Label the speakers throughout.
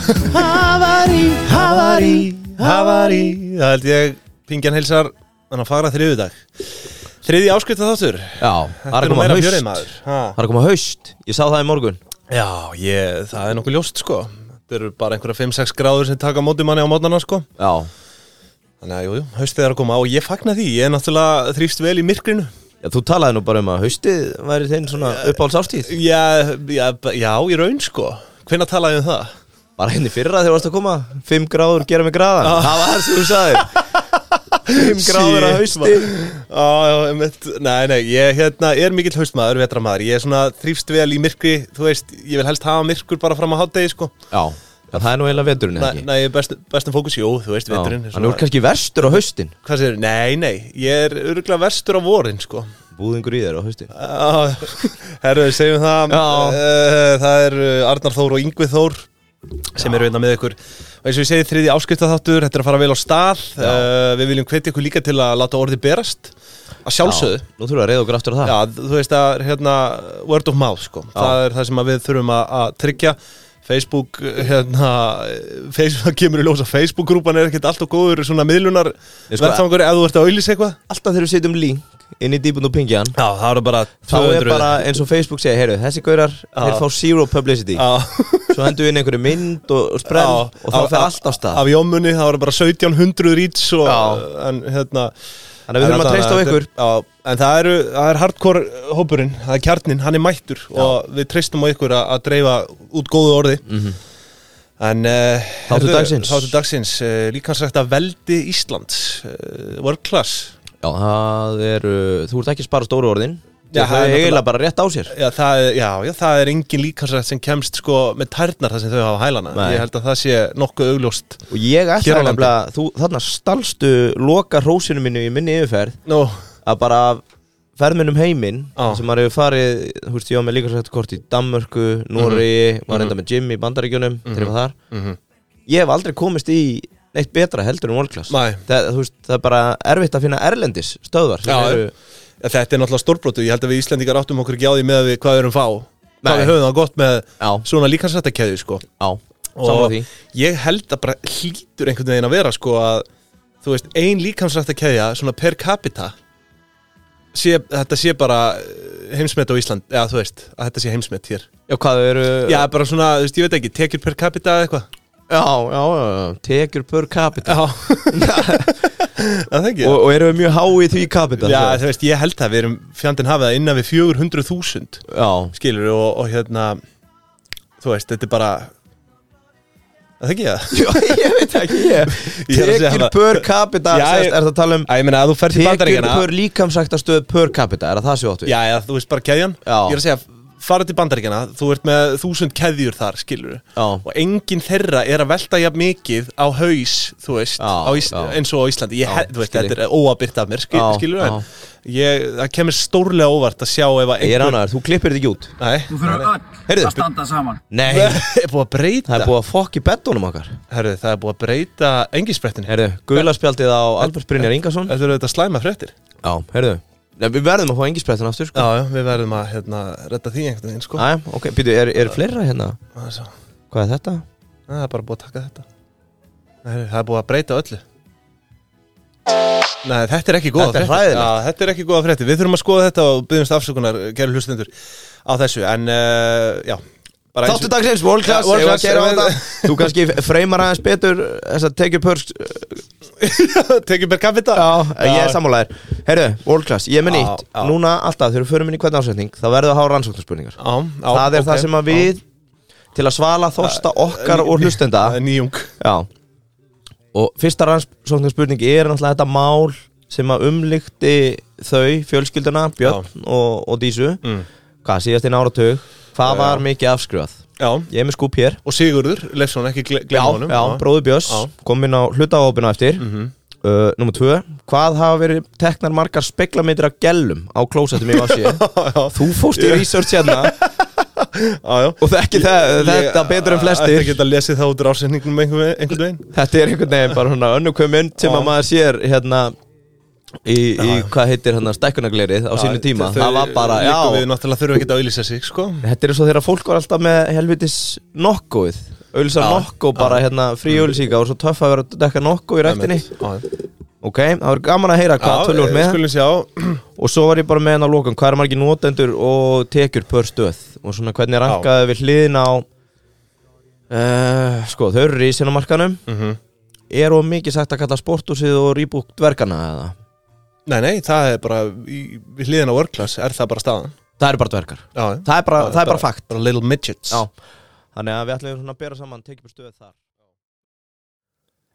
Speaker 1: Havari, havari, havari
Speaker 2: Það held ég pingjan heilsar Þannig að fara þriðu dag Þriði áskrift að þáttur
Speaker 1: Já, það er
Speaker 2: Þetta
Speaker 1: að
Speaker 2: er nú
Speaker 1: koma
Speaker 2: meira
Speaker 1: haust
Speaker 2: fjörið
Speaker 1: Það
Speaker 2: maður ha.
Speaker 1: er að koma haust, ég sá það í morgun
Speaker 2: Já, ég, það er nokkuð ljóst sko Þetta eru bara einhverja 5-6 gráður sem taka móti manni á mótnarna sko
Speaker 1: Já,
Speaker 2: Þannig að jú, jú, haustið er að koma á og ég fagna því Ég er náttúrulega þrýfst vel í myrkrinu
Speaker 1: já þú talaði nú bara um að haustið væri þeim svona uppáhaldsástíð
Speaker 2: Já, já, b- já í raun sko Hvenær talaði ég um það?
Speaker 1: Bara henni fyrra þegar varst að koma 5 gráður gera mig gráðan Það var það sem þú sagði 5 gráður að
Speaker 2: Shit,
Speaker 1: hausti
Speaker 2: maður. Já, já, einmitt. Nei, nei, ég hérna, er mikill haustmaður, vetramaður Ég er svona þrýfst vel í myrkri Þú veist, ég vil helst hafa myrkur bara fram á hátdegi sko
Speaker 1: Já, en það er nú eiginlega veturinn
Speaker 2: Nei,
Speaker 1: ekki
Speaker 2: nei, best, bestum fókus, jú, þú veist, veturinn er
Speaker 1: Hann er kannski verstur á haustin
Speaker 2: Hvað segir, nei, nei, ég er örgulega verstur á vorin, sko
Speaker 1: Búðingur í þér á haustin
Speaker 2: Ah, Herru, segjum það
Speaker 1: Já.
Speaker 2: Eh, Það er Arnar Þór og Yngvi Þór sem eru einna með ykkur og eins og ég segi þriði áskiptaþáttur þetta er að fara vel á stað uh, við viljum hvetja ykkur líka til að láta orði berast að sjálfsögðu
Speaker 1: Já, Nú þurfum við að reyða okkur aftur á það
Speaker 2: Já, þú veist að er, hérna, word of mouth sko. það er það sem að við þurfum að, að tryggja Facebook, hérna, Facebook kemur í ljósa Facebook-grúpan er ekkert alltaf góður svona miðlunar
Speaker 1: Ég sko-
Speaker 2: verðfangur ef þú ert að auðlýsa eitthvað
Speaker 1: Alltaf þegar við setjum link inn í dýbund og pingjan
Speaker 2: Já, það eru bara
Speaker 1: Þá er bara eins og Facebook segja, heyrðu, þessi gaurar, þeir fá zero publicity
Speaker 2: Já,
Speaker 1: Svo hendur við inn einhverju mynd og, og sprell
Speaker 2: Já,
Speaker 1: og þá
Speaker 2: af-
Speaker 1: fer
Speaker 2: af-
Speaker 1: allt á stað
Speaker 2: af jómunni það eru bara 1700 reach og,
Speaker 1: Já.
Speaker 2: en hérna
Speaker 1: Þannig að við þurfum að treysta á
Speaker 2: þetta er-
Speaker 1: ykkur
Speaker 2: Já, en það, eru, það er hardcore hópurinn, það er kjarnin, hann er mættur og við treystum á ykkur að, að dreifa út góðu orði En uh,
Speaker 1: Mhm. Þáttur dagsins.
Speaker 2: Þáttu dagsins, uh, líkansrækt að veldi Íslands, uh, world class
Speaker 1: Já, það eru, þú ert ekki að spara stóru orðin Já,
Speaker 2: Já, það
Speaker 1: það
Speaker 2: er
Speaker 1: er
Speaker 2: náttúrulega-
Speaker 1: eiginlega bara rétt á sér
Speaker 2: Já, það er, já, já, það er engin líkansrækt sem kemst sko með tærnar þar sem þau hafa hælana
Speaker 1: Nei.
Speaker 2: Ég held að það sé nokkuð augljóst
Speaker 1: Og ég
Speaker 2: Hér á
Speaker 1: ætla
Speaker 2: landi.
Speaker 1: nefnilega, þú, þarna stalstu loka hrósinu mínu í minni yfirferð
Speaker 2: Nú,
Speaker 1: að bara af ferminum heiminn
Speaker 2: Já.
Speaker 1: sem maður hefur farið, þú veist, ég var með líka sættu kort í Danmörku, Noregi, var enda með Jim í Bandaríkjunum, þegar ég var þar
Speaker 2: Mhm.
Speaker 1: ég hef aldrei komist í neitt betra heldur en World Class
Speaker 2: Nei.
Speaker 1: það, þú veist, það er bara erfitt að finna erlendis stöðvar sem
Speaker 2: Já,
Speaker 1: eru,
Speaker 2: ja, þetta er náttúrulega stórbrotu Ég held að við Íslendingar áttum okkur ekki á því með við hvað við erum fá Hvað
Speaker 1: Nei.
Speaker 2: við höfum það gott með
Speaker 1: Já.
Speaker 2: svona líkansrættakæði sko.
Speaker 1: á,
Speaker 2: Og
Speaker 1: samla því
Speaker 2: ég held að bara hlýtur einhvern veginn að vera sko, að, Þú veist, ein líkansrættakæðja svona per capita sé, Þetta sé bara eh, heimsmet á Ísland Já, þú veist, að þetta sé heimsmet hér
Speaker 1: já, hvað eru,
Speaker 2: Já, bara svona, þú veist, ég veit ekki, tekjur per capita eða eitthvað
Speaker 1: já, já, já, tekjur per capita
Speaker 2: Já, það þengi
Speaker 1: og, og eru við mjög há í því capita
Speaker 2: Já,
Speaker 1: svo?
Speaker 2: þú veist, ég held að við erum fjandinn hafið að innan við 400.000
Speaker 1: já,
Speaker 2: skilur og, og hérna þú veist, þetta er bara það þekki ég það
Speaker 1: já, ég veit ekki ég.
Speaker 2: Ég er að segja
Speaker 1: tekjur
Speaker 2: það.
Speaker 1: per capita
Speaker 2: Já,
Speaker 1: sest,
Speaker 2: ég-
Speaker 1: er það að tala um
Speaker 2: Æ, ég meina að þú fer til
Speaker 1: tekjur
Speaker 2: bandaríkjana
Speaker 1: per líkamsæktastöð per capita er það það sem áttu
Speaker 2: Já, já, þú veist bara keðjan
Speaker 1: Já.
Speaker 2: Ég er að segja, fara til bandaríkjana þú ert með þúsund keðjur þar, skilur
Speaker 1: já,
Speaker 2: og enginn þeirra er að velta jafn mikið á haus, þú veist
Speaker 1: Já,
Speaker 2: á Ís,
Speaker 1: já.
Speaker 2: eins og á Íslandi, ég,
Speaker 1: Já,
Speaker 2: já, þú veist,
Speaker 1: skil ég.
Speaker 2: þetta er óabyrt af mér skil,
Speaker 1: Já,
Speaker 2: skilur, en ég, það kemur stórlega óvart að sjá ef
Speaker 1: ég
Speaker 2: að
Speaker 1: er
Speaker 2: einhver
Speaker 1: ánæður, þú klippir þetta ekki út
Speaker 2: Nei,
Speaker 3: Nú þurfum
Speaker 1: Heyrðu,
Speaker 3: öll að standa saman.
Speaker 1: nei,
Speaker 2: það er búið að breyta
Speaker 1: það er búið að fokk í bettunum okkar
Speaker 2: Herru, það er búið að breyta engisbrettin
Speaker 1: Herðu, guðlarspjaldið á Albert Brynjar Ingarsson
Speaker 2: Þetta eru þetta slæma fréttir
Speaker 1: Já, herðu Nei, Við verðum að fá engisprettin aftur sko.
Speaker 2: Já, já, við verðum að hérna, redda því einhvern veginn, sko
Speaker 1: Æ, ok, býtu, er, er fleira hérna?
Speaker 2: Það er svo,
Speaker 1: Hvað er þetta?
Speaker 2: það er bara búið að taka þetta Nei, það er búið að breyta öllu Nei, þetta er ekki góða
Speaker 1: Þetta er hræðilegt.
Speaker 2: Já, þetta er ekki góða fréttir Við þurfum að skoða þetta og byggjumst afsökunar Gerðu hlustendur á þessu En, uh, já bara eins
Speaker 1: Þáttu
Speaker 2: og-
Speaker 1: dagsins, World Class,
Speaker 2: Ja, World
Speaker 1: eigum við að
Speaker 2: Class,
Speaker 1: gera á
Speaker 2: við-
Speaker 1: þetta. Þú kannski freymar aðeins betur þess að tekið pörst
Speaker 2: Tekjum per capita
Speaker 1: Ég er sammálaðir Herðu, World Class, ég er með
Speaker 2: Já,
Speaker 1: nýtt
Speaker 2: já.
Speaker 1: Núna alltaf, þegar við förum inn í hvern ásetning þá verður að hafa rannsóknarspurningar
Speaker 2: Já, já,
Speaker 1: Það er
Speaker 2: ok.
Speaker 1: það sem að við til að svala þorsta okkar og hlustenda
Speaker 2: Það er nýjung
Speaker 1: Já Og fyrsta rannsóknarspurning er náttúrulega þetta mál sem að umlykti þau, fjölskylduna, Björn og, og Dísu
Speaker 2: Mm.
Speaker 1: Hvað, síðast einn áratug Hvað var mikið afskrifað?
Speaker 2: Já,
Speaker 1: Ég er með skúp hér
Speaker 2: og Sigurður, Leifsson, ekki gle-
Speaker 1: Já,
Speaker 2: glemma honum
Speaker 1: já, bróður Björns
Speaker 2: Já. Mhm.
Speaker 1: kom inn á hlutahópinu á eftir mm -hmm. uh, Númer tvö Hvað hafa verið teknar margar speklamindir af gellum á klósettum í Vassi? Þú fóst í research hérna
Speaker 2: já, já.
Speaker 1: og þekki það, þetta betur en flestir
Speaker 2: Þetta geta lesið það út úr ásetningnum einhver ve- einhvern veginn
Speaker 1: Þetta er einhvern veginn bara svona önnukveð mynd sem
Speaker 2: Já.
Speaker 1: að maður sér hérna í, í
Speaker 2: Já.
Speaker 1: hvað heitir hann stekkunaglerið á sínu tíma
Speaker 2: þau-
Speaker 1: það var bara,
Speaker 2: líka Við
Speaker 1: já
Speaker 2: náttúrulega þurfum ekki að auðlýsa sig, sko
Speaker 1: Þetta er eins og þegar fólk var alltaf með helvitis nokkóið Ölsa
Speaker 2: Já.
Speaker 1: nokko bara hérna frí ölsíka og svo töff að vera að dekka nokko í rættinni Ok, það var gaman að heyra hvað tölur voru með
Speaker 2: eh, Skulum sjá
Speaker 1: Og svo var ég bara með hennar lókan Hvað er margir notendur og tekjur pör stöð Og svona hvernig rankaði við hliðin á uh, Sko, þau eru rísin á markanum
Speaker 2: Mhm.
Speaker 1: Er of mikið sagt að kalla sportúsið og rýbúkt verkana eða?
Speaker 2: Nei, nei, það er bara í, Við hliðin á work class er það bara staðan
Speaker 1: Það eru bara dverkar
Speaker 2: Já, já.
Speaker 1: Það er bara, það er bara fakt
Speaker 2: Bara little midgets
Speaker 1: Já. Þannig að við ætlum svona að bera saman tekjum og stöð þar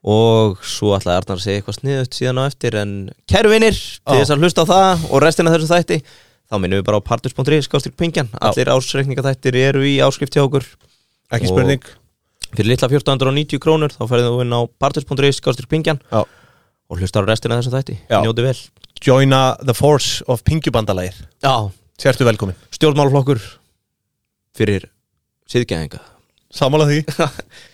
Speaker 1: Og svo ætlaði Arnar að segja eitthvað sniðut síðan á eftir En kæru vinir, til
Speaker 2: Já.
Speaker 1: þess að hlusta á það og restina af þessum þætti Þá minnum við bara á partus.ri, skástrík pingjan Allir ásreikningathættir eru í áskrift hjá okkur
Speaker 2: Ekki
Speaker 1: Og-
Speaker 2: spurning
Speaker 1: Fyrir litla 1490 krónur þá færðu þú inn á partus.ri, skástrík pingjan
Speaker 2: Já.
Speaker 1: Og hlustar á restina af þessum þætti
Speaker 2: Já.
Speaker 1: Njóti vel
Speaker 2: Joina the force of pingjubandalægir
Speaker 1: Já,
Speaker 2: Sértu velkomin
Speaker 1: stjórnmálflokkur fyrir síðgæðinga
Speaker 2: Samála því